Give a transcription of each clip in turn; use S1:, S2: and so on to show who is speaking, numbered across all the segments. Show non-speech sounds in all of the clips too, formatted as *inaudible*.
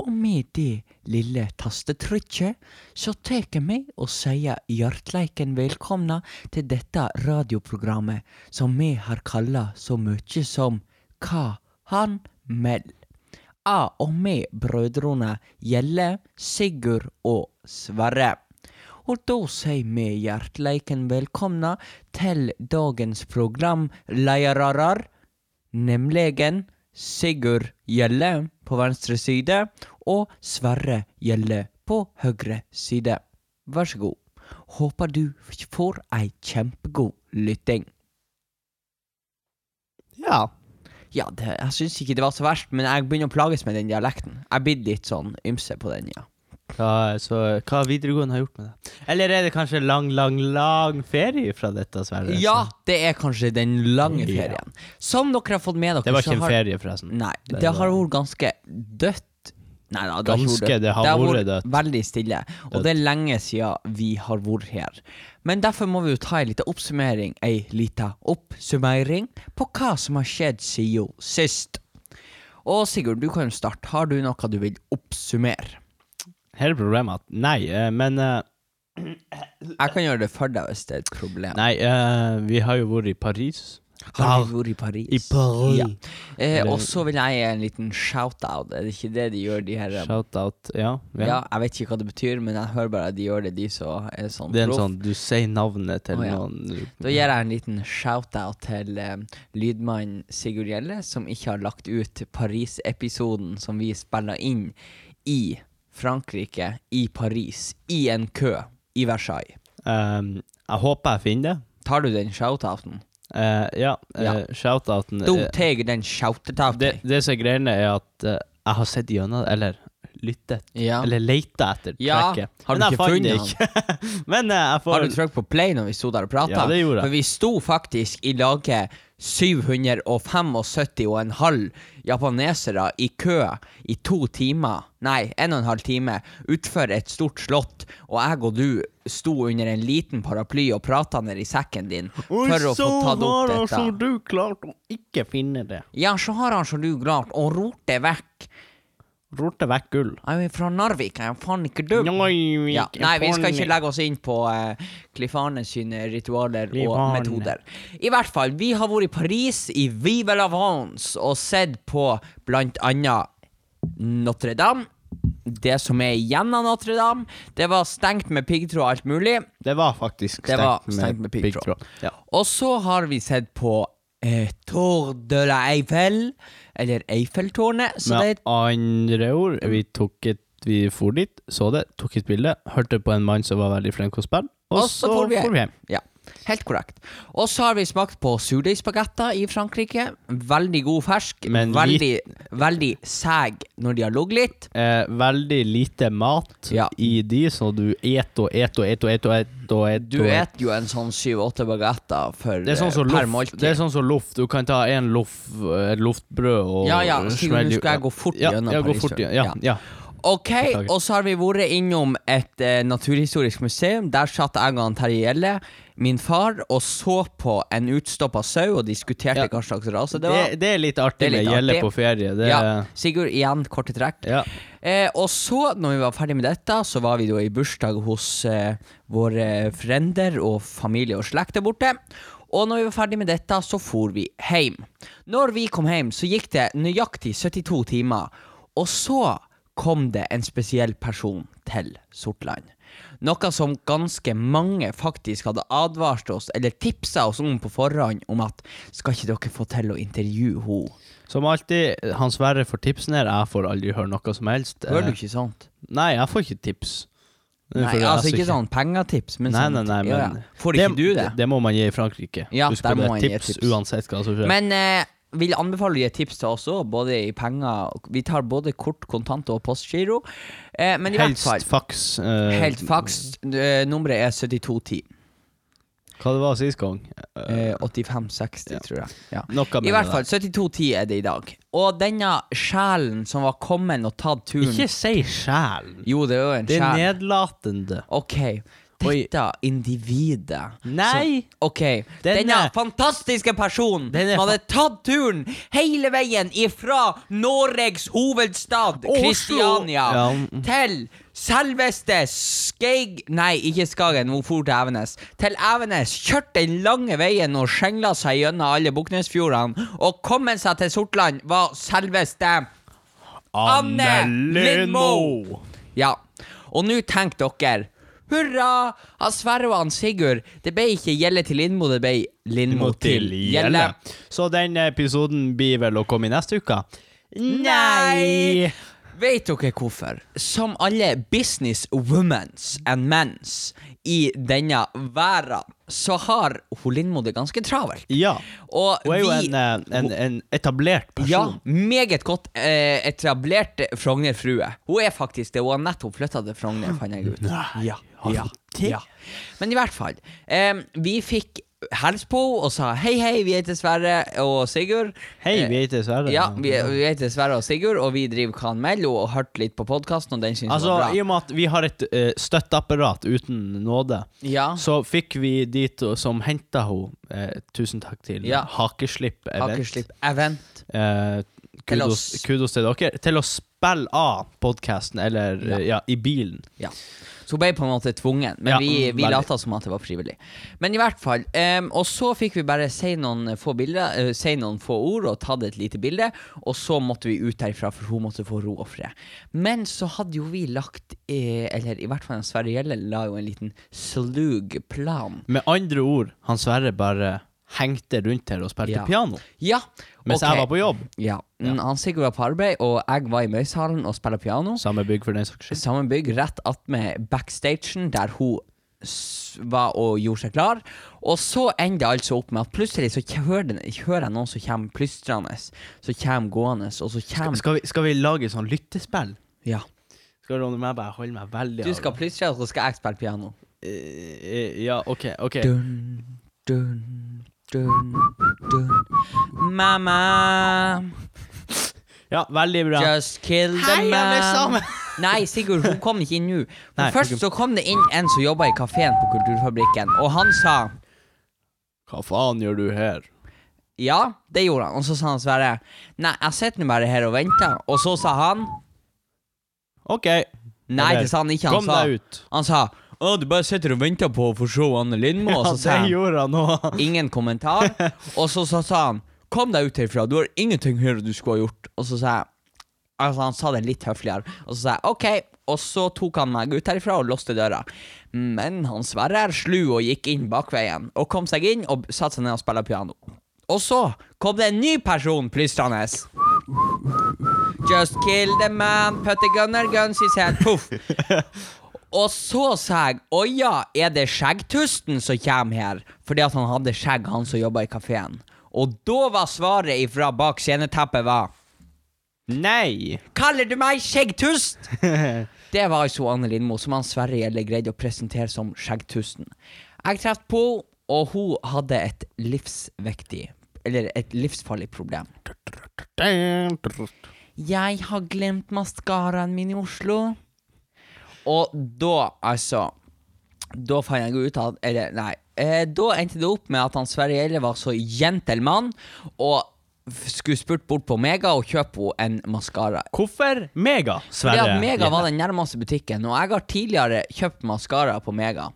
S1: og med det lille tastetrykket så tek me og sier hjartleiken velkomna til dette radioprogrammet som me har kalla så mykje som Hva han meld. A og me brødrene Gjelle, Sigurd og Sverre. Og da sier vi hjertleiken velkomna til dagens programleiarar, nemlig Sigurd Gjelle på venstre side og Sverre Gjelle på høyre side. Vær så god. Håper du får ei kjempegod lytting.
S2: Ja.
S1: Ja, det, jeg syns ikke det var så verst, men jeg begynner å plages med den dialekten. Jeg blir litt sånn ymse på den, ja.
S2: Hva, så hva videregående har gjort med det? Eller er det kanskje lang, lang, lang ferie fra dette, liksom? Sverre?
S1: Ja, det er kanskje den lange
S2: Ja.
S1: ferien. Som dere har fått med dere,
S2: Det var ikke en
S1: så har
S2: ferie, forresten.
S1: Nei,
S2: Det
S1: det,
S2: var-
S1: har vært ganske dødt. Nei da, det
S2: eh,
S1: har
S2: Ganske,
S1: ikke vært dødt.
S2: det har vært dødt.
S1: Veldig stille. Og det er lenge siden vi har vært her. Men derfor må vi jo ta ei lita oppsummering, ei lita oppsummering, på hva som har skjedd siden sist. Og Sigurd, du kan jo starte. Har du noe du vil oppsummere?
S2: Her er problemet at Nei, eh, men eh,
S1: Jeg kan gjøre det for deg hvis det er et problem.
S2: Nei, eh, vi har jo vært i Paris.
S1: Har du vært i Paris?
S2: I Paris.
S1: Ja. Eh, og så vil jeg gi en liten shout-out. Er det ikke det de gjør, de her eh,
S2: Shout-out. Ja.
S1: Ja. jeg vet ikke hva det betyr, men jeg hører bare at de gjør det, de som er sånn
S2: Det er en
S1: proff.
S2: sånn Du sier navnet til
S1: Å, ja.
S2: noen
S1: Da gir jeg en liten shout-out til eh, lydmann Sigurd Gjelle, som ikke har lagt ut Paris-episoden som vi spilla inn i Frankrike, i Paris, i en kø i Versailles.
S2: Ehm, Jeg håper jeg finner det.
S1: Tar du den shout-outen?
S2: Eh, ja. eh,
S1: Ja.
S2: Shout-outen
S1: Da
S2: eh,
S1: tar jeg den
S2: det,
S1: shout-outen.
S2: det som er greiene, er at eh, jeg har sett gjennom Eller lyttet.
S1: Ja.
S2: Eller leita etter
S1: Ja,
S2: trekket.
S1: har du
S2: Men jeg
S1: ikke
S2: fant
S1: funnet
S2: det ikke. *laughs* Men eh, jeg får
S1: Har du trykt på play når vi sto der og prata?
S2: Ja, det gjorde jeg.
S1: For vi sto faktisk i laget 775 og en halv japanesere i kø i to timer, nei, en og en halv time, utfor et stort slott, og jeg og du sto under en liten paraply og prata nedi sekken din for å få tatt opp dette.
S2: du klart å ikke finne det.
S1: Ja, så har han så du klart å rote vekk.
S2: Rote vekk gull.
S1: Jeg er fra Narvik, jeg er faen ikke dum.
S2: Nei,
S1: Ja, nei, vi skal ikke legge oss inn på uh, Cliffane sine ritualer og
S2: Cliffane.
S1: metoder. I hvert fall, vi har vært i Paris, i Vive la France, og sett på blant annet Notre-Dame. Det som er igjen av Notre-Dame. Det var stengt med piggtråd og alt mulig.
S2: Det var faktisk
S1: Det var
S2: stengt med,
S1: stengt med piggtråd.
S2: piggtråd. Ja.
S1: Og så har vi sett på eh, Tour de la Eiffel, eller Eiffeltårnet, som det
S2: Med
S1: heter.
S2: andre ord, vi tok et vi for dit, så det, tok et bilde, hørte på en mann som var veldig flink til å spille, og, så for vi hjem.
S1: Ja, helt korrekt. Og så har vi smakt på surdeigsbagetter i Frankrike. Veldig god fersk.
S2: Men
S1: veldig, veldig sæg når de har ligget litt.
S2: Eh, veldig lite mat
S1: Ja.
S2: i de, så du et og et og et og et og et og et.
S1: Du
S2: og
S1: et jo en sånn syv-åtte bagetter for,
S2: Det er sånn som
S1: eh, per
S2: loff.
S1: måltid.
S2: Det er sånn som loff. Du kan ta en loff, eh, et loffbrød og
S1: Ja, ja, Sigurd,
S2: smelle-
S1: nå skal jeg gå fort
S2: ja,
S1: gjennom
S2: ja, gå
S1: Paris,
S2: fort
S1: tror jeg.
S2: igjen. Ja, ja.
S1: Ok,
S2: Beklager.
S1: og så har vi vært innom et eh, naturhistorisk museum. Der satt jeg og han Terje Gjelle, min far, og så på en utstoppa sau og diskuterte
S2: Ja.
S1: hva slags rase
S2: Det,
S1: det var.
S2: det er litt artig
S1: Det er litt
S2: med gjelde
S1: artig.
S2: på ferie. Det,
S1: ja. Sigurd, igjen korte trekk.
S2: Ja.
S1: Eh, og så, når vi var ferdig med dette, så var vi da i bursdag hos eh, våre frender og familie og slekt der borte. Og når vi var ferdig med dette, så for vi hjem. Når vi kom hjem, så gikk det nøyaktig 72 timer. Og så kom det en spesiell person til Sortland. Noe som ganske mange faktisk hadde advart oss, eller tipsa oss om på forhånd, om at skal ikke dere få til å intervjue henne?
S2: Som alltid, Hans Sverre får tips ned. Jeg får aldri høre noe som helst. Eh,
S1: Hører du ikke sånt?
S2: Nei, jeg får ikke tips. Det er
S1: Nei,
S2: fordi jeg
S1: altså
S2: så
S1: ikke sånn pengetips, men
S2: Nei,
S1: sånn
S2: nei, nei, men
S1: ja, ja. Får ikke du det?
S2: Det må man gi i Frankrike.
S1: Ja,
S2: du skal
S1: der må
S2: få
S1: man
S2: det
S1: gi
S2: tips,
S1: tips.
S2: uansett hva som skjer.
S1: Men eh, vil anbefale å gi tips til oss òg, både i penger og- Vi tar både kort, kontant og postgiro. Eh, men i
S2: Helst
S1: hvert fall
S2: faks. eh,
S1: Helt faks. eh, nummeret er 7210.
S2: Hva det var sist gang?
S1: Eh, 8560, tror jeg. Ja.
S2: Noe
S1: I
S2: med
S1: hvert
S2: det.
S1: fall 7210 er det i dag. Og denne sjelen som var kommet og tatt turen
S2: Ikke si sjæl.
S1: Jo, det er jo en
S2: Det er
S1: sjel.
S2: nedlatende.
S1: OK. dette individet.
S2: Nei!
S1: Så, OK. Denne,
S2: Denne-
S1: fantastiske personen
S2: Denne
S1: som hadde tatt turen hele veien ifra Norges hovedstad,
S2: Oslo.
S1: Kristiania,
S2: Ja.
S1: til selveste Skeig... Nei, ikke Skagen, hun for til Evenes. Til Evenes. Kjørt den lange veien og skjengla seg gjennom alle Buknesfjordene. Og kommet seg til Sortland var selveste Anne Lindmo! Ja. Og nå tenk dere. Hurra! Han Sverre og han Sigurd. Det ble ikke Gjelle til Lindmo, det ble Lindmo
S2: Må
S1: til Gjelle.
S2: Så den episoden blir vel å komme i neste uke?
S1: Nei! Vet dere hvorfor? Som alle businesswomens and mens i denne verden, så har hun Lindmo det ganske travelt.
S2: Ja.
S1: Og
S2: Hun er jo
S1: vi
S2: en, eh, en, en etablert
S1: Ja,
S2: person.
S1: meget godt eh, etablert Frogner-frue. Hun er faktisk det. Hun har nettopp flytta til Frogner, fant jeg ut. Ja,
S2: har
S1: ja,
S2: hun det?
S1: ja. Men i hvert fall. Eh, vi fikk hils på henne og sa hei, hei, vi heter Sverre og Sigurd.
S2: Hei,
S1: Eh,
S2: vi heter Sverre.
S1: ja, vi, vi heter Sverre og Sigurd, og vi driver Kan Mell og har hørt litt på podkasten, og den syns vi
S2: Altså,
S1: var bra.
S2: I og med at vi har et eh, støtteapparat uten nåde,
S1: Ja.
S2: så fikk vi de to som henta henne. eh, tusen takk til
S1: Ja.
S2: Hakeslipp Event.
S1: Akerslipp Event.
S2: Eh,
S1: Til
S2: kudos,
S1: oss.
S2: kudos til dere. Til å spille av podkasten, eller eh, ja, i bilen.
S1: Ja. Så hun ble på en måte tvungen, men
S2: Ja,
S1: vi, vi
S2: veldig.
S1: lata som at det var frivillig. Men i hvert fall. em, og så fikk vi bare si noen få bilder eh, Si noen få ord og tatt et lite bilde, og så måtte vi ut derifra, for hun måtte få ro og fred. Men så hadde jo vi lagt eh, Eller i hvert fall Sverre Gjelle la jo en liten slug plan.
S2: Med andre ord, han Sverre bare hengte rundt her og spilte
S1: Ja.
S2: piano
S1: Ja,
S2: mens
S1: ok.
S2: jeg var på jobb.
S1: ja. Mm, Han Sigurd var på arbeid, og jeg var i Møyshallen og spilte piano.
S2: Samme bygg, for den saks skyld.
S1: samme bygg, rett attmed backstagen, der hun s- var og gjorde seg klar. Og så ender det altså opp med at plutselig så kj- hører, den, hører jeg noen som kommer plystrende, som kommer gående, og så kommer
S2: Skal, vi- skal vi lage sånn lyttespill?
S1: Ja.
S2: Skal du om jeg bare holder meg veldig
S1: Du skal plystre, og så skal jeg spille piano.
S2: Eh, Ja, OK. ok
S1: Dun, dun, dun, dun. Mamma,
S2: Ja, veldig bra.
S1: just kill the
S2: Hei, alle
S1: man.
S2: sammen.
S1: *laughs* Nei, Sigurd, hun kom ikke inn nå. For
S2: Nei,
S1: Først
S2: hun-
S1: så kom det inn en som jobba i kafeen på Kulturfabrikken, og han sa
S2: Hva faen gjør du her?
S1: Ja, det gjorde han. Og så sa han Sverre Nei, jeg sitter nå bare her og venter. Og så sa han
S2: OK.
S1: Nei,
S2: Eller,
S1: det sa han ikke. Han
S2: Kom
S1: sa,
S2: deg ut.
S1: han sa Å, du bare sitter og venter på å få se Anne Lindmo. og
S2: Ja,
S1: så sa
S2: det
S1: han
S2: gjorde han òg.
S1: *laughs* ingen kommentar. Og så sa sa han Kom deg ut herfra. Du har ingenting her du skulle ha gjort. Og så sa jeg Altså, han sa det litt høfligere. Og så sa jeg OK. Og så tok han meg ut herifra og låste døra. Men han Sverre er slu og gikk inn bakveien. Og kom seg inn og satte seg ned og spilte piano. Og så kom det en ny person plystrende. Just kill the man, put the gunner guns i seg. Poff. Og så sa jeg å ja, er det skjeggtusten som kommer her? Fordi at han hadde skjegg, han som jobba i kafeen. Og da var svaret ifra bak sceneteppet var
S2: Nei.
S1: Kaller du meg skjeggtust? Det var altså Anne Lindmo, som han Sverre Gjelle greide å presentere som skjeggtusten. Jeg traff på henne, og hun hadde et livsviktig Eller et livsfarlig problem. Jeg har glemt maskaraen min i Oslo. Og da, altså Da fant jeg ut at Eller, nei. Eh, da endte det opp med at han Sverre Gjelle var så gentleman og f- skulle spurt bort på Mega og kjøpe henne en maskara.
S2: Hvorfor Mega,
S1: Fordi
S2: Sverre?
S1: at Mega var den nærmeste butikken, og jeg har tidligere kjøpt maskara på Mega.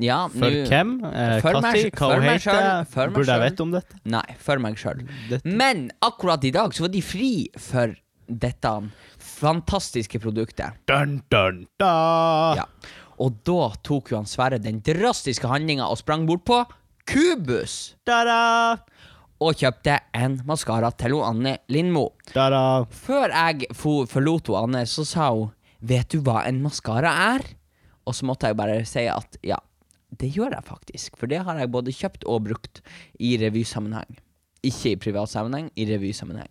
S1: Ja,
S2: For
S1: nå-
S2: hvem? Eh,
S1: For meg sj-
S2: Katti? Hva
S1: for
S2: hun
S1: meg
S2: heter
S1: selv, for meg
S2: Burde jeg
S1: selv.
S2: vite om dette?
S1: Nei, for meg sjøl.
S2: Dette-
S1: Men akkurat i dag så var de fri for dette fantastiske produktet.
S2: Dun, dun, da.
S1: Ja. Og da tok jo han Sverre den drastiske handlinga og sprang bort på Kubus
S2: Da, da.
S1: og kjøpte en maskara til hun Anne Lindmo.
S2: Da, da.
S1: Før jeg fo- forlot hun Anne, så sa hun Vet du hva en maskara er? Og så måtte jeg bare si at ja, det gjør jeg faktisk. For det har jeg både kjøpt og brukt i revysammenheng. Ikke i privat sammenheng, i revysammenheng.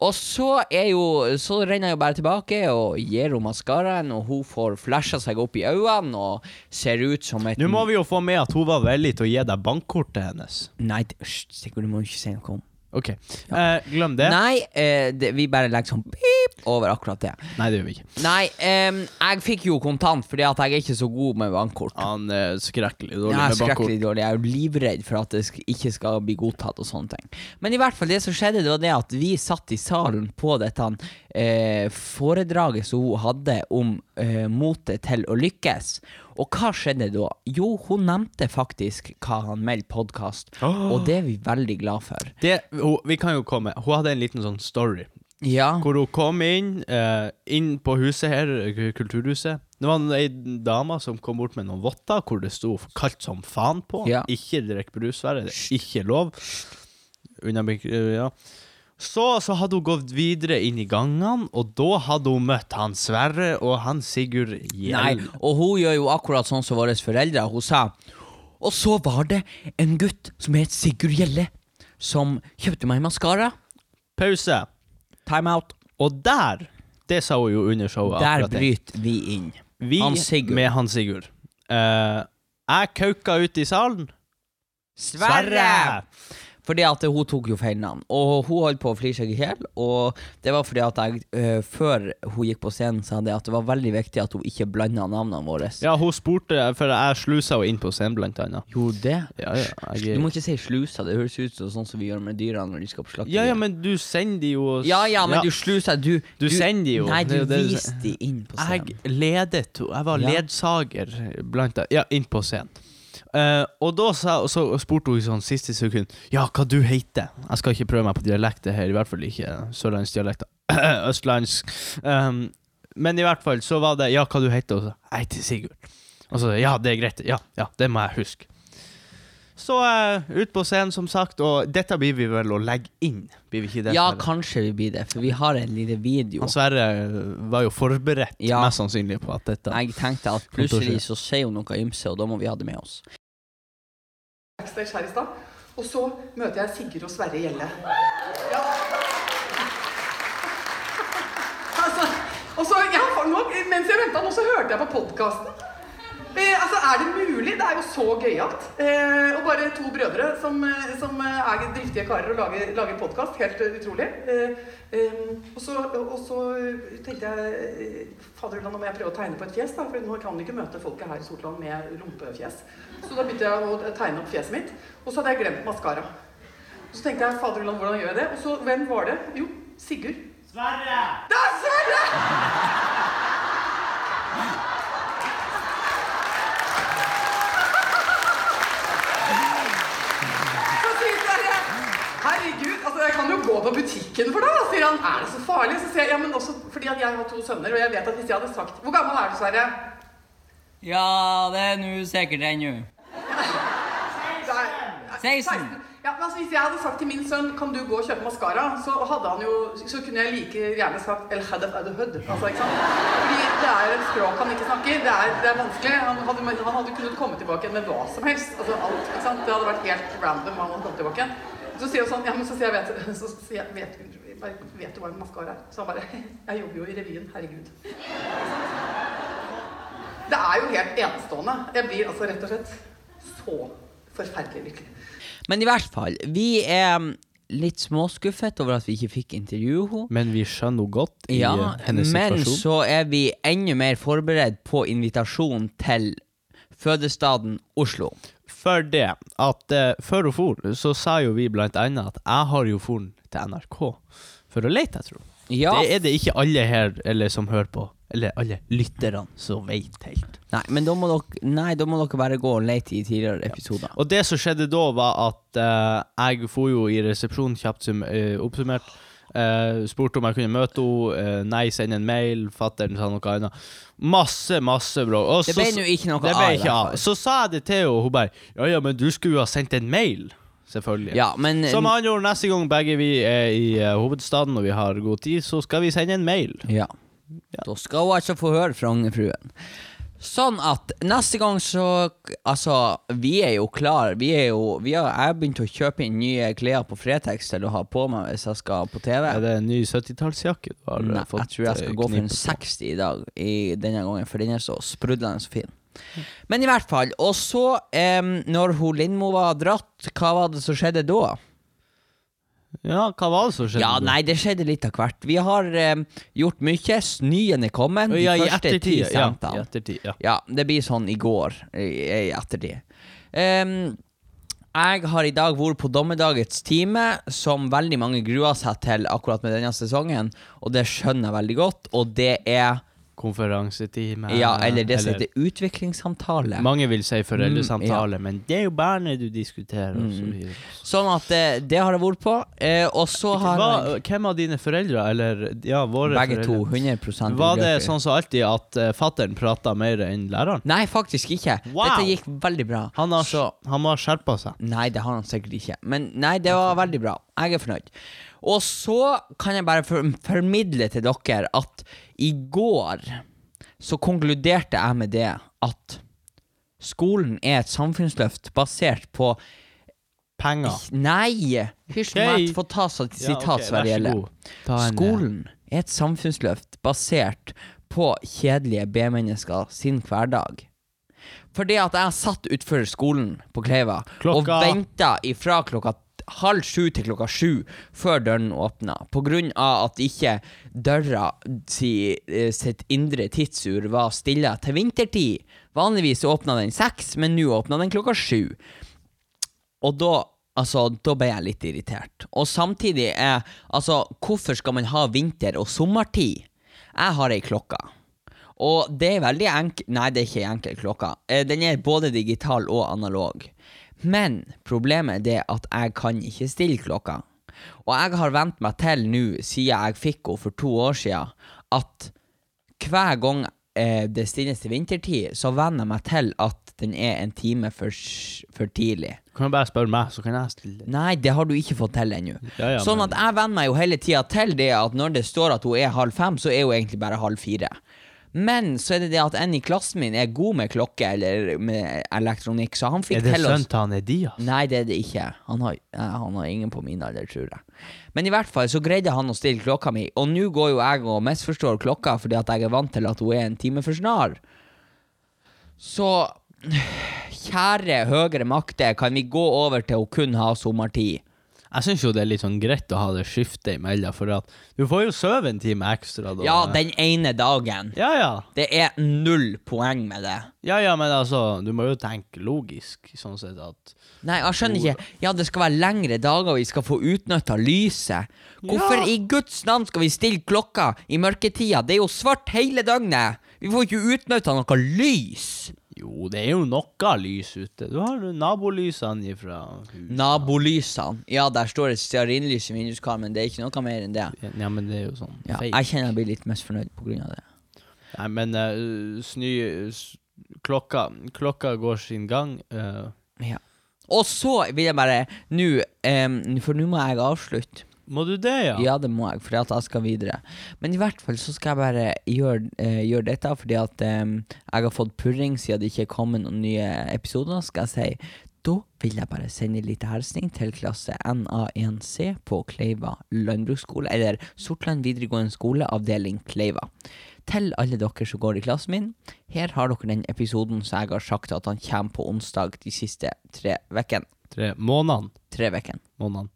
S1: Og så er jo Så renner jeg jo bare tilbake og gir henne maskaraen, og hun får flasha seg opp i øynene og ser ut som et
S2: Nå må vi jo få med at hun var villig til å gi deg bankkortet hennes.
S1: Nei, det- hysj, Sigurd, du må jo ikke si noe om
S2: OK. Eh, glem det. Nei.
S1: Nei, eh, det, vi bare legger sånn pip over akkurat det.
S2: det gjør vi ikke.
S1: Nei, em, jeg fikk jo kontant fordi at jeg er ikke så god med bankkort.
S2: Han er skrekkelig Ah, dårlig
S1: Jeg er
S2: med bankkort.
S1: skrekkelig dårlig. Jeg er jo livredd for at det sk- ikke skal bli godtatt og sånne ting. Men i hvert fall det som skjedde, det var det at vi satt i salen på dette eh, foredraget som hun hadde om eh, motet til å lykkes. Og hva skjedde da? Jo, hun nevnte faktisk hva han melder podkast,
S2: Ah.
S1: og det er vi veldig glad for.
S2: Det, hun, vi kan jo komme Hun hadde en liten sånn story
S1: Ja.
S2: hvor hun kom inn eh, Inn på huset her, k- kulturhuset. Det var en- ei dame som kom bort med noen votter hvor det sto 'kaldt som faen' på.
S1: Ja.
S2: Ikke drikk brus, Sverre. Det er ikke lov. Unna mik- eh, ja. Så, så hadde hun gått videre inn i gangene, og da hadde hun møtt han Sverre og han Sigurd
S1: Nei,
S2: Gjell.
S1: og hun gjør jo akkurat sånn som våre foreldre. Hun sa Og så var det en gutt som het Sigurd Gjelle, som kjøpte meg maskara.
S2: Pause.
S1: Time out.
S2: Og der, det sa hun jo under showet.
S1: Der
S2: akkurat det.
S1: bryter vi inn.
S2: Vi
S1: Han Sigurd.
S2: med han Sigurd. Eh, jeg kauka ut i salen.
S1: Fordi at hun tok jo feil navn. Og hun holdt på å flire seg i hjel. Og det var fordi at jeg, eh, før hun gikk på scenen, sa det at det var veldig viktig at hun ikke blanda navnene våre.
S2: Ja, hun spurte, for jeg slusa henne inn på scenen, blant annet.
S1: Gjorde det?
S2: Ja, ja,
S1: Du
S2: jeg,
S1: må ikke si slusa. Det høres ut som sånn som vi gjør med dyra når de skal på slakteriet.
S2: ja, ja, men du sender de jo
S1: Ja, ja, men du sluser Du,
S2: Du sender de jo.
S1: Nei,
S2: Det
S1: du
S2: er jo det du
S1: viste de inn på
S2: Jeg
S1: scenen.
S2: ledet henne. Jeg var
S1: Ja.
S2: ledsager blant annet. Ja, inn på scenen. Eh, og da sa, og så spurte hun i sånn siste sekund Ja, hva du heter Jeg skal ikke prøve meg på dialekter her, i hvert fall ikke sørlandsdialekter. *clears throat* Østlandsk. Um, men i hvert fall så var det Ja, hva du heter? Og så Jeg heter Sigurd. Og så Ja, det er greit. Ja, ja, det må jeg huske. Så eh, ut på scenen, som sagt, og dette blir vi vel å legge inn? Blir vi ikke det?
S1: Ja,
S2: Sverre?
S1: kanskje vi blir det, for vi har en liten video.
S2: Han Sverre eh, var jo forberedt
S1: Ja.
S2: mest sannsynlig på at dette
S1: Jeg tenkte at plutselig så sier hun noe ymse, og da må vi ha det med oss.
S3: backstage her i stad. Og så møter jeg Sigurd og Sverre Gjelle. Ja. Altså, og så, ja, for nå, mens jeg venta nå, så hørte jeg på podkasten. Eh, altså, er det mulig? Det er jo så gøyalt. Eh, og bare to brødre som, eh, som eh, er driftige karer og lager, lager podkast. Helt eh, utrolig. Eh, eh, og, så, og så tenkte jeg eh, Faderullan, nå må jeg prøve å tegne på et fjes, da. For nå kan du ikke møte folket her i Sortland med rumpefjes. Så da begynte jeg å tegne opp fjeset mitt. Og så hadde jeg glemt maskara. Så tenkte jeg Faderullan, hvordan gjør jeg det? Og så hvem var det? Jo, Sigurd. Sverre! Det er Sverre! Så sier Sverre, Herregud, altså jeg kan jo gå på butikken for deg, da, sier han. Er det så farlig? Så sier jeg, ja, men også fordi at jeg har to sønner, og jeg vet at hvis jeg hadde sagt Hvor gammel er du, Sverre?
S1: Ja, det er nå sikkert ennå.
S3: Nei, nei,
S1: 16.
S3: Ja, men altså Hvis jeg hadde sagt til min sønn kan du gå og kjøpe maskara, så hadde han jo, så kunne jeg like gjerne sagt El hadaf adu hud. Altså, ikke sant? Fordi det er et språk han ikke snakker. Det er, det er vanskelig. Han hadde, men han hadde kunnet komme tilbake igjen med hva som helst. altså alt, ikke sant? Det hadde vært helt random hva han hadde kommet tilbake igjen. Så sier hun sånn, ja, men så sier jeg, vet, *laughs* så sier jeg vet, vet, vet du hva en maskara er? Så han bare *laughs* Jeg jobber jo i revyen. Herregud. Det er jo helt enestående. Jeg blir altså rett og slett så forferdelig lykkelig.
S1: Men i hvert fall, vi er um, litt småskuffet over at vi ikke fikk intervjue henne.
S2: Men vi skjønner henne godt i
S1: Ja,
S2: eh, hennes
S1: men
S2: situasjon.
S1: så er vi enda mer forberedt på invitasjon til fødestaden Oslo.
S2: For det at eh, før hun for, så sa jo vi blant annet at jeg har jo foren til NRK for å lete etter henne.
S1: Ja,
S2: Det er det ikke alle her eller som hører på, eller alle lytterne, som vet helt.
S1: Nei, men da må dere, nei, da må dere bare gå og lete i tidligere episoder.
S2: Og det som skjedde da, var at eh, jeg for jo i resepsjonen kjapt sum, eh, oppsummert. eh, spurte om jeg kunne møte henne. eh, nei, send en mail. Fatter'n sa noe annet. Masse, masse bra. Og
S1: Det
S2: så-
S1: ble nå ikke noe
S2: det
S1: av,
S2: ble
S1: i
S2: ikke
S1: hvert
S2: av.
S1: fall.
S2: Så sa jeg det til henne, og hun bare Ja ja, men du skulle jo ha sendt en mail. Selvfølgelig.
S1: Ja, men
S2: Som han gjorde neste gang begge vi er i eh, hovedstaden og vi har god tid, så skal vi sende en mail.
S1: ja. Da skal hun altså få høre Frognerfruen. Sånn at neste gang så Altså, vi er jo klar. Vi er jo vi har, Jeg har begynt å kjøpe inn nye klær på Fretex til å ha på meg hvis jeg skal på TV.
S2: Er det en ny 70-tallsjakke du har eh,
S1: Nei,
S2: fått?
S1: jeg tror jeg
S2: eh,
S1: skal gå for
S2: knipe
S1: en
S2: på?
S1: 60 i dag, i denne gangen, for den er så sprudlende og fin. Men i hvert fall. Og så, em, når hun Lindmo var dratt, hva var det som skjedde da?
S2: Ja, hva var det som skjedde?
S1: Ja,
S2: da?
S1: nei, det skjedde litt av hvert. Vi har eh, gjort mye. Snøen er kommet.
S2: Å,
S1: De
S2: ja, i
S1: første ti
S2: ettertid. Ja,
S1: centene.
S2: i ettertid. Ja.
S1: Ja, det blir sånn i går, i, i ettertid. Ehm, jeg har i dag vært på dommedagets time, som veldig mange gruer seg til akkurat med denne sesongen, og det skjønner jeg veldig godt, og det er
S2: Konferansetime.
S1: Ja, eller det som heter utviklingssamtale.
S2: Mange vil si
S1: Mm,
S2: foreldresamtale, men det er jo barnet du diskuterer. og så videre.
S1: Sånn at eh, det har jeg vært på, eh, og så har
S2: Hva,
S1: jeg
S2: hvem av dine foreldre, eller ja, våre
S1: begge
S2: foreldre
S1: to 100
S2: Var det
S1: geografi.
S2: sånn som alltid at uh, fattern prata mer enn læreren?
S1: Nei, faktisk ikke.
S2: Wow!
S1: Dette gikk veldig bra.
S2: Han, har,
S1: så
S2: han må ha skjerpa seg.
S1: Nei, det har han sikkert ikke. Men nei, det var veldig bra. Jeg er fornøyd. Og så kan jeg bare for- formidle til dere at i går så konkluderte jeg med det at skolen er et samfunnsløft basert på
S2: Penger.
S1: Nei! Hysj nå,
S2: Ok.
S1: jeg får ta sat- sitat, Sverre Gjelle.
S2: Ta en, eh,
S1: Skolen er et samfunnsløft basert på kjedelige B-mennesker sin hverdag. Fordi at jeg satt utfor skolen på Kleiva og
S2: Klokka-
S1: venta ifra klokka halv sju til klokka sju før døren åpna, på grunn av at ikke døra si, eh, sitt indre tidsur var stilla til vintertid. Vanligvis åpna den seks, men nå åpna den klokka sju. Og da Altså, da ble jeg litt irritert. Og samtidig er Altså, hvorfor skal man ha vinter- og sommertid? Jeg har ei klokke. Og det er veldig enkel Nei, det er ikke ei enkel klokke. Eh, Den er både digital og analog. Men problemet er det at jeg kan ikke stille klokka. Og jeg har vent meg til nå, siden jeg fikk henne for to år siden, at hver gang eh, det stilles til vintertid, så venner jeg meg til at den er en time for, s- for tidlig.
S2: Du kan jo bare spørre meg, så kan jeg stille.
S1: Nei, det har du ikke fått til ennå.
S2: Ja, ja,
S1: sånn
S2: men-
S1: at jeg venner meg jo hele tida til det at når det står at hun er halv fem, så er hun egentlig bare halv fire. Men så er det det at en i klassen min er god med klokke eller med elektronikk, så han fikk
S2: Er det
S1: til oss
S2: sønnen til han Edias?
S1: Nei, det er det ikke. Han har, eh, han har ingen på min alder, tror jeg. Men i hvert fall så greide han å stille klokka mi, og nå går jo jeg og misforstår klokka fordi at jeg er vant til at hun er en time for snar. Så *sighs* kjære høyere makter, kan vi gå over til å kun ha sommertid?
S2: Jeg syns jo det er litt sånn greit å ha det skiftet imellom, for at du får jo sove en time ekstra da.
S1: Ja, den ene dagen.
S2: Ja, ja.
S1: Det er null poeng med det.
S2: Ja, ja, men altså, du må jo tenke logisk, sånn sett at
S1: Nei, jeg skjønner ikke. Ja, det skal være lengre dager, og vi skal få utnytta lyset. Hvorfor
S2: Ja.
S1: i Guds navn skal vi stille klokka i mørketida? Det er jo svart hele døgnet! Vi får ikke utnytta noe lys!
S2: Jo, det er jo noe lys ute. Du har jo nabolysene ifra huset.
S1: Nabolysene. Ja, der står et stearinlys i vinduskarmen, det er ikke noe mer enn det.
S2: Ja, men det er jo sånn
S1: Ja,
S2: feil.
S1: jeg kjenner jeg blir litt misfornøyd på grunn av det.
S2: Nei, men eh, snø s- klokka, klokka går sin gang. eh,
S1: Ja. Og så vil jeg bare nå em, For nå må jeg avslutte.
S2: må du det, ja?
S1: Ja, det må jeg, fordi at jeg skal videre. Men i hvert fall så skal jeg bare gjøre, eh, gjøre dette, fordi at eh, jeg har fått purring siden det ikke er kommet noen nye episoder. Skal jeg si da vil jeg bare sende en liten hilsen til klasse NA1C på Kleiva landbruksskole, eller Sortland videregående skole, avdeling Kleiva. Til alle dere som går i klassen min, her har dere den episoden som jeg har sagt at han kommer på onsdag de siste tre vekken.
S2: Tre månedene.
S1: Tre vekken.
S2: Måneden.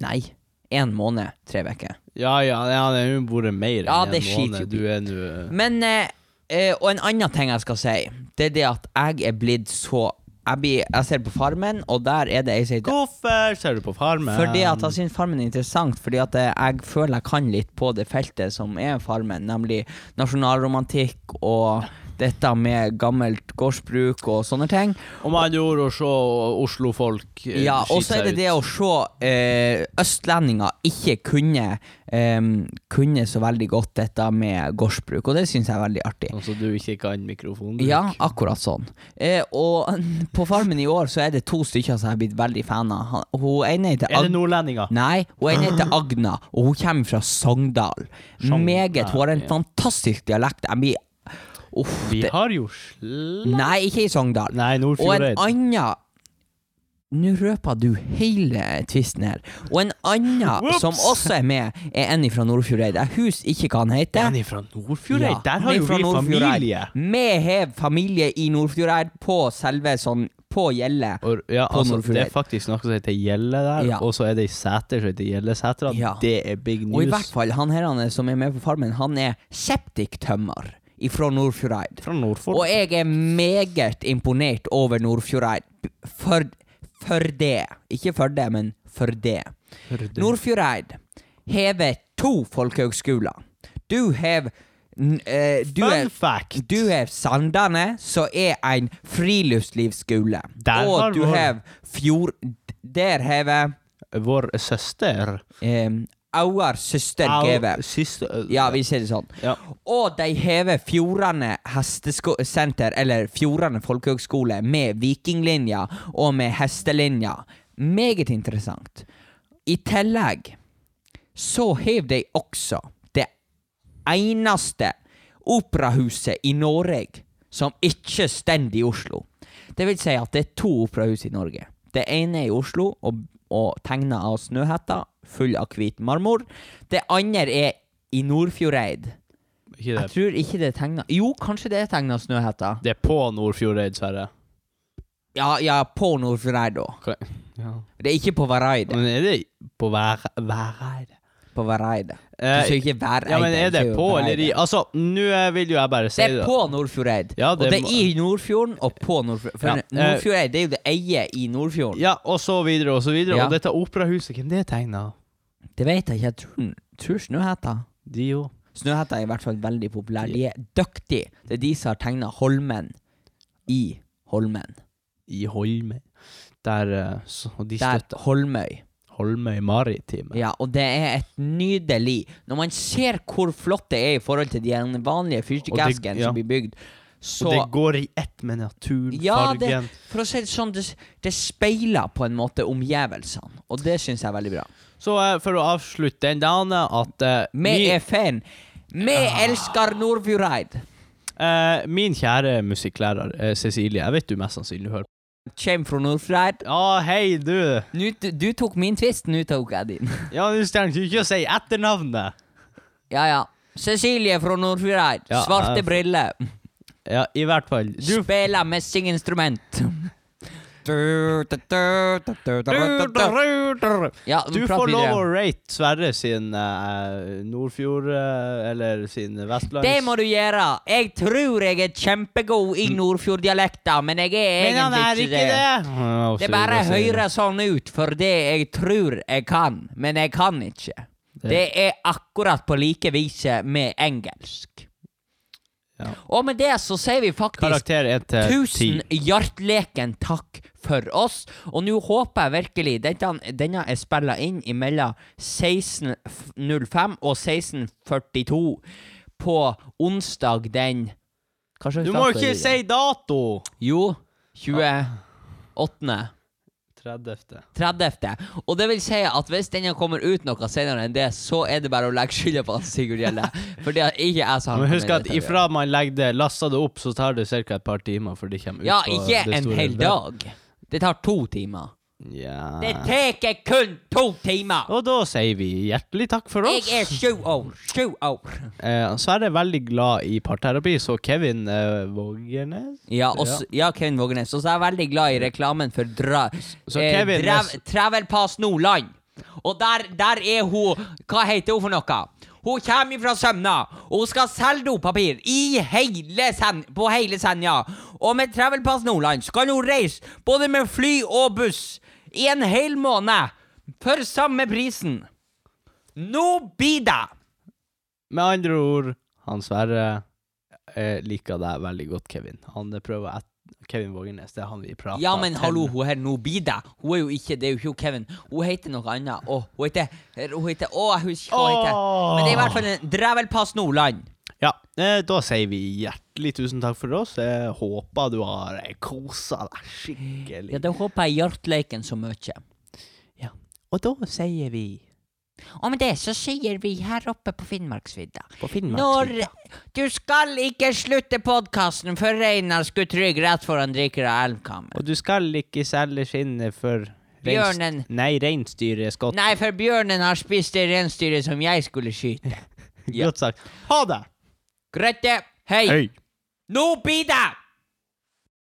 S1: Nei, én måned, tre vekker.
S2: Ja, ja, ja, det har jo vært mer
S1: Ja,
S2: enn
S1: det
S2: en
S1: skiter jo
S2: måned. Du er nå eh,
S1: Men eh, eh, Og en annen ting jeg skal si, det er det at jeg er blitt så Jeg, blir, jeg ser på Farmen, og der er det ei som heter
S2: Hvorfor ser du på Farmen?
S1: fordi at jeg syns Farmen er interessant, fordi at eh, jeg føler jeg kan litt på det feltet som er Farmen, nemlig nasjonalromantikk og dette med gammelt gårdsbruk og sånne ting.
S2: Om andre ord å se Oslo-folk eh,
S1: Ja, og
S2: skite
S1: så er
S2: seg
S1: det det å se eh, østlendinger ikke kunne em, Kunne så veldig godt dette med gårdsbruk, og det syns jeg er veldig artig.
S2: Sånn som du ikke kan mikrofonen.
S1: Ja, akkurat sånn. Eh, og *laughs* på Farmen i år så er det to stykker som jeg har blitt veldig fan av. Han- Hun ene heter
S2: Er det
S1: Ag
S2: nordlendinger?
S1: Nei, hun ene heter Agna, og hun kommer fra Sogndal.
S2: Sogndal,
S1: Meget. Hun har en
S2: ja.
S1: fantastisk dialekt. Jeg blir Uff.
S2: Vi
S1: Det...
S2: har jo sl...
S1: Nei, ikke i Sogndal.
S2: Nei,
S1: Og en
S2: Nordfjordeid.
S1: annen Nå røper du hele tvisten her. Og en annen
S2: Whoops!
S1: som også er med, er en fra Nordfjordeid. Jeg husker ikke hva han heter.
S2: Den er fra Nordfjordeid?
S1: Ja,
S2: Der
S1: vi
S2: har jo
S1: fra
S2: vi
S1: Nordfjordeid.
S2: familie!
S1: Vi har familie i Nordfjordeid på selve sånn På på gjelle.
S2: Og, ja,
S1: På
S2: altså,
S1: Nordfjordeid.
S2: det er faktisk noe som heter Gjelle der,
S1: Ja.
S2: og så er det ei seter som heter Gjellesetra.
S1: Ja.
S2: Det er big news.
S1: Og i hvert fall, han her han er- som er med på Farmen, han er septiktømmer ifra Nordfjordeid.
S2: Fra Nordfjord.
S1: Og jeg er meget imponert over Nordfjordeid. For, for det. Ikke for det, men for det. Nordfjordeid hever to folkehøgskoler. Du hev n- eh, du
S2: Fun
S1: er-
S2: fact!
S1: Du hev Sandane, som er en friluftslivsskole.
S2: Der har
S1: Og du
S2: vår-
S1: hev Fjord... Der hever
S2: Vår søster
S1: um, Auar søster
S2: Au,
S1: Geve.
S2: Syster
S1: Ja, vi sier det sånn.
S2: Ja.
S1: Og de hever Fjordane hestesenter, eller Fjordane folkehøgskole, med vikinglinja og med hestelinja. Meget interessant. I tillegg så hev de også det eneste operahuset i Norge som ikke stender i Oslo. Det vil si at det er to operahus i Norge. Det ene er i Oslo og, og tegna av Snøhetta, full av hvit marmor. Det andre er i Nordfjordeid.
S2: Ikke
S1: Jeg
S2: det.
S1: tror ikke det er tegna Jo, kanskje det er tegna Snøhetta.
S2: Det er på Nordfjordeid, Sverre.
S1: Ja, ja, på Nordfjordeid, da.
S2: Ok. Ja.
S1: Det er ikke på Vareide.
S2: Men er det på Være- Væreid?
S1: På Vareide. Du
S2: Eh,
S1: sier ikke Væreide.
S2: Ja, men er
S1: du
S2: det
S1: sier
S2: på
S1: Vareide.
S2: eller i Altså, nå eh, vil jo jeg bare si
S1: Det er på Nordfjordeid.
S2: Ja, det
S1: og det
S2: må-
S1: er i Nordfjorden og på Nordfjorden. For
S2: Ja, eh,
S1: Nordfjordeid det er jo det eier i Nordfjorden.
S2: Ja, og så videre og så videre.
S1: Ja.
S2: Og dette operahuset, hvem det er tegna?
S1: Det vet jeg ikke. Jeg tror, tror Snøhetta.
S2: De jo.
S1: Snøhetta er i hvert fall veldig populær. De er dyktige. Det er de som har tegna Holmen i Holmen.
S2: I Holmøy. Der eh, så, Og de
S1: Der
S2: støtter
S1: Holmøy.
S2: Holmøy Maritime.
S1: Ja, og det er et nydelig Når man ser hvor flott det er i forhold til de vanlige
S2: Og
S1: fyrstikkeskene
S2: det- ja.
S1: som blir bygd,
S2: og det
S1: så
S2: går i ett med naturen,
S1: Ja, det-
S2: fargen
S1: For å si det sånn, det, det speiler på en måte omgivelsene, og det syns jeg er veldig bra.
S2: Så eh, for å avslutte den dagen at eh,
S1: Vi
S2: min,
S1: er fan. Vi elsker Nordfjordeid.
S2: eh, min kjære musikklærer eh, Cecilie, jeg vet du mest sannsynlig hører
S1: Kjem fra Nordfjordeid.
S2: Ja, hei, du!
S1: Nu, du, du tok min twist, nå tok jeg din.
S2: Ja, du trenger ikke å si etternavnet.
S1: Ja, ja. Cecilie fra Nordfjordeid.
S2: Ja,
S1: Svarte
S2: jeg-
S1: briller.
S2: Ja, i hvert fall. Du
S1: Spiller messinginstrument. Ja,
S2: Du
S1: prat
S2: får lov
S1: videre.
S2: å rate Sverre sin eh, Nordfjord eh, Eller sin Vestlands
S1: Det må du gjøre. Jeg tror jeg er kjempegod i Nordfjorddialekta, men jeg er
S2: Mm. Men han er
S1: egentlig
S2: ikke det! Ja, og
S1: Det
S2: så
S1: bare
S2: videre, så videre.
S1: høres sånn ut for det jeg tror jeg kan, men jeg kan ikke.
S2: Det-
S1: Det er akkurat på like viset med engelsk.
S2: Ja.
S1: Og med det så sier vi faktisk
S2: Karakter 1 til 10
S1: Tusen hjerteleken takk for oss. Og nå håper jeg virkelig Denne, denne er spilla inn mellom 16.05 og 16.42 på onsdag den Hva slags
S2: Du må
S1: dato er
S2: ikke
S1: det?
S2: si dato!
S1: Jo, 28.
S2: 30.
S1: 30. Og det vil si at hvis denne kommer ut noe senere enn det, så er det bare å legge skylda på han Sigurd Gjelle. For det er ikke jeg som har
S2: Men
S1: noe
S2: husk
S1: med
S2: at
S1: dette å gjøre.
S2: ifra man legger det, laster det opp, så tar det ca. et par timer før det kommer ut.
S1: Ja,
S2: på
S1: ikke
S2: det
S1: en
S2: store
S1: hel
S2: web.
S1: dag. Det tar to timer. Det
S2: Ja.
S1: tar kun to timer!
S2: Og da sier vi hjertelig takk for oss.
S1: Jeg er sju år. Sju år.
S2: Eh, Sverre er veldig glad i parterapi, så Kevin eh, Vågernes
S1: Ja, og s- ja, Kevin Vågenes. Og så er jeg veldig glad i reklamen for dra,
S2: så
S1: eh,
S2: Kevin
S1: drev,
S2: må s-
S1: Travelpass Nordland. Og der, der er hun Hva heter hun for noe? Hun kommer fra Sømna, og hun skal selge dopapir i hele Sen på hele Senja. Og med Travelpass Nordland så kan hun reise både med fly og buss i en hel måned for samme prisen. Nå blir det!
S2: Med andre ord, han Sverre eh, liker deg veldig godt, Kevin. Han eh, prøver et Kevin Vågenes, det er han vi prater
S1: Ja, men
S2: til.
S1: hallo, hun her nå blir det. Hun er jo ikke det, er jo ikke hun Kevin. Hun heter noe annet. Å, hun heter Hun heter Å, jeg husker ikke hva hun heter. Men det er i hvert fall en Drevelpass Nordland.
S2: Ja, eh, da sier vi hjertelig tusen takk for oss. Jeg håper du har eh, kosa deg skikkelig.
S1: Ja, det håper jeg hjertleiken så mye.
S2: Og da sier vi
S1: Og med det så sier vi her oppe på Finnmarksvidda
S2: på Finnmark
S1: Når Du skal ikke slutte podkasten før Reinar skulle trygge rett foran drikker av elvkammen.
S2: Og du skal ikke selge skinnet for reins-
S1: Bjørnen.
S2: Nei, reinsdyret Scott.
S1: Nei, for bjørnen har spist det reinsdyret som jeg skulle skyte. ja.
S2: Godt sagt. Ha det!
S1: Grøtte, hei!
S2: Hei.
S1: Nå blir det!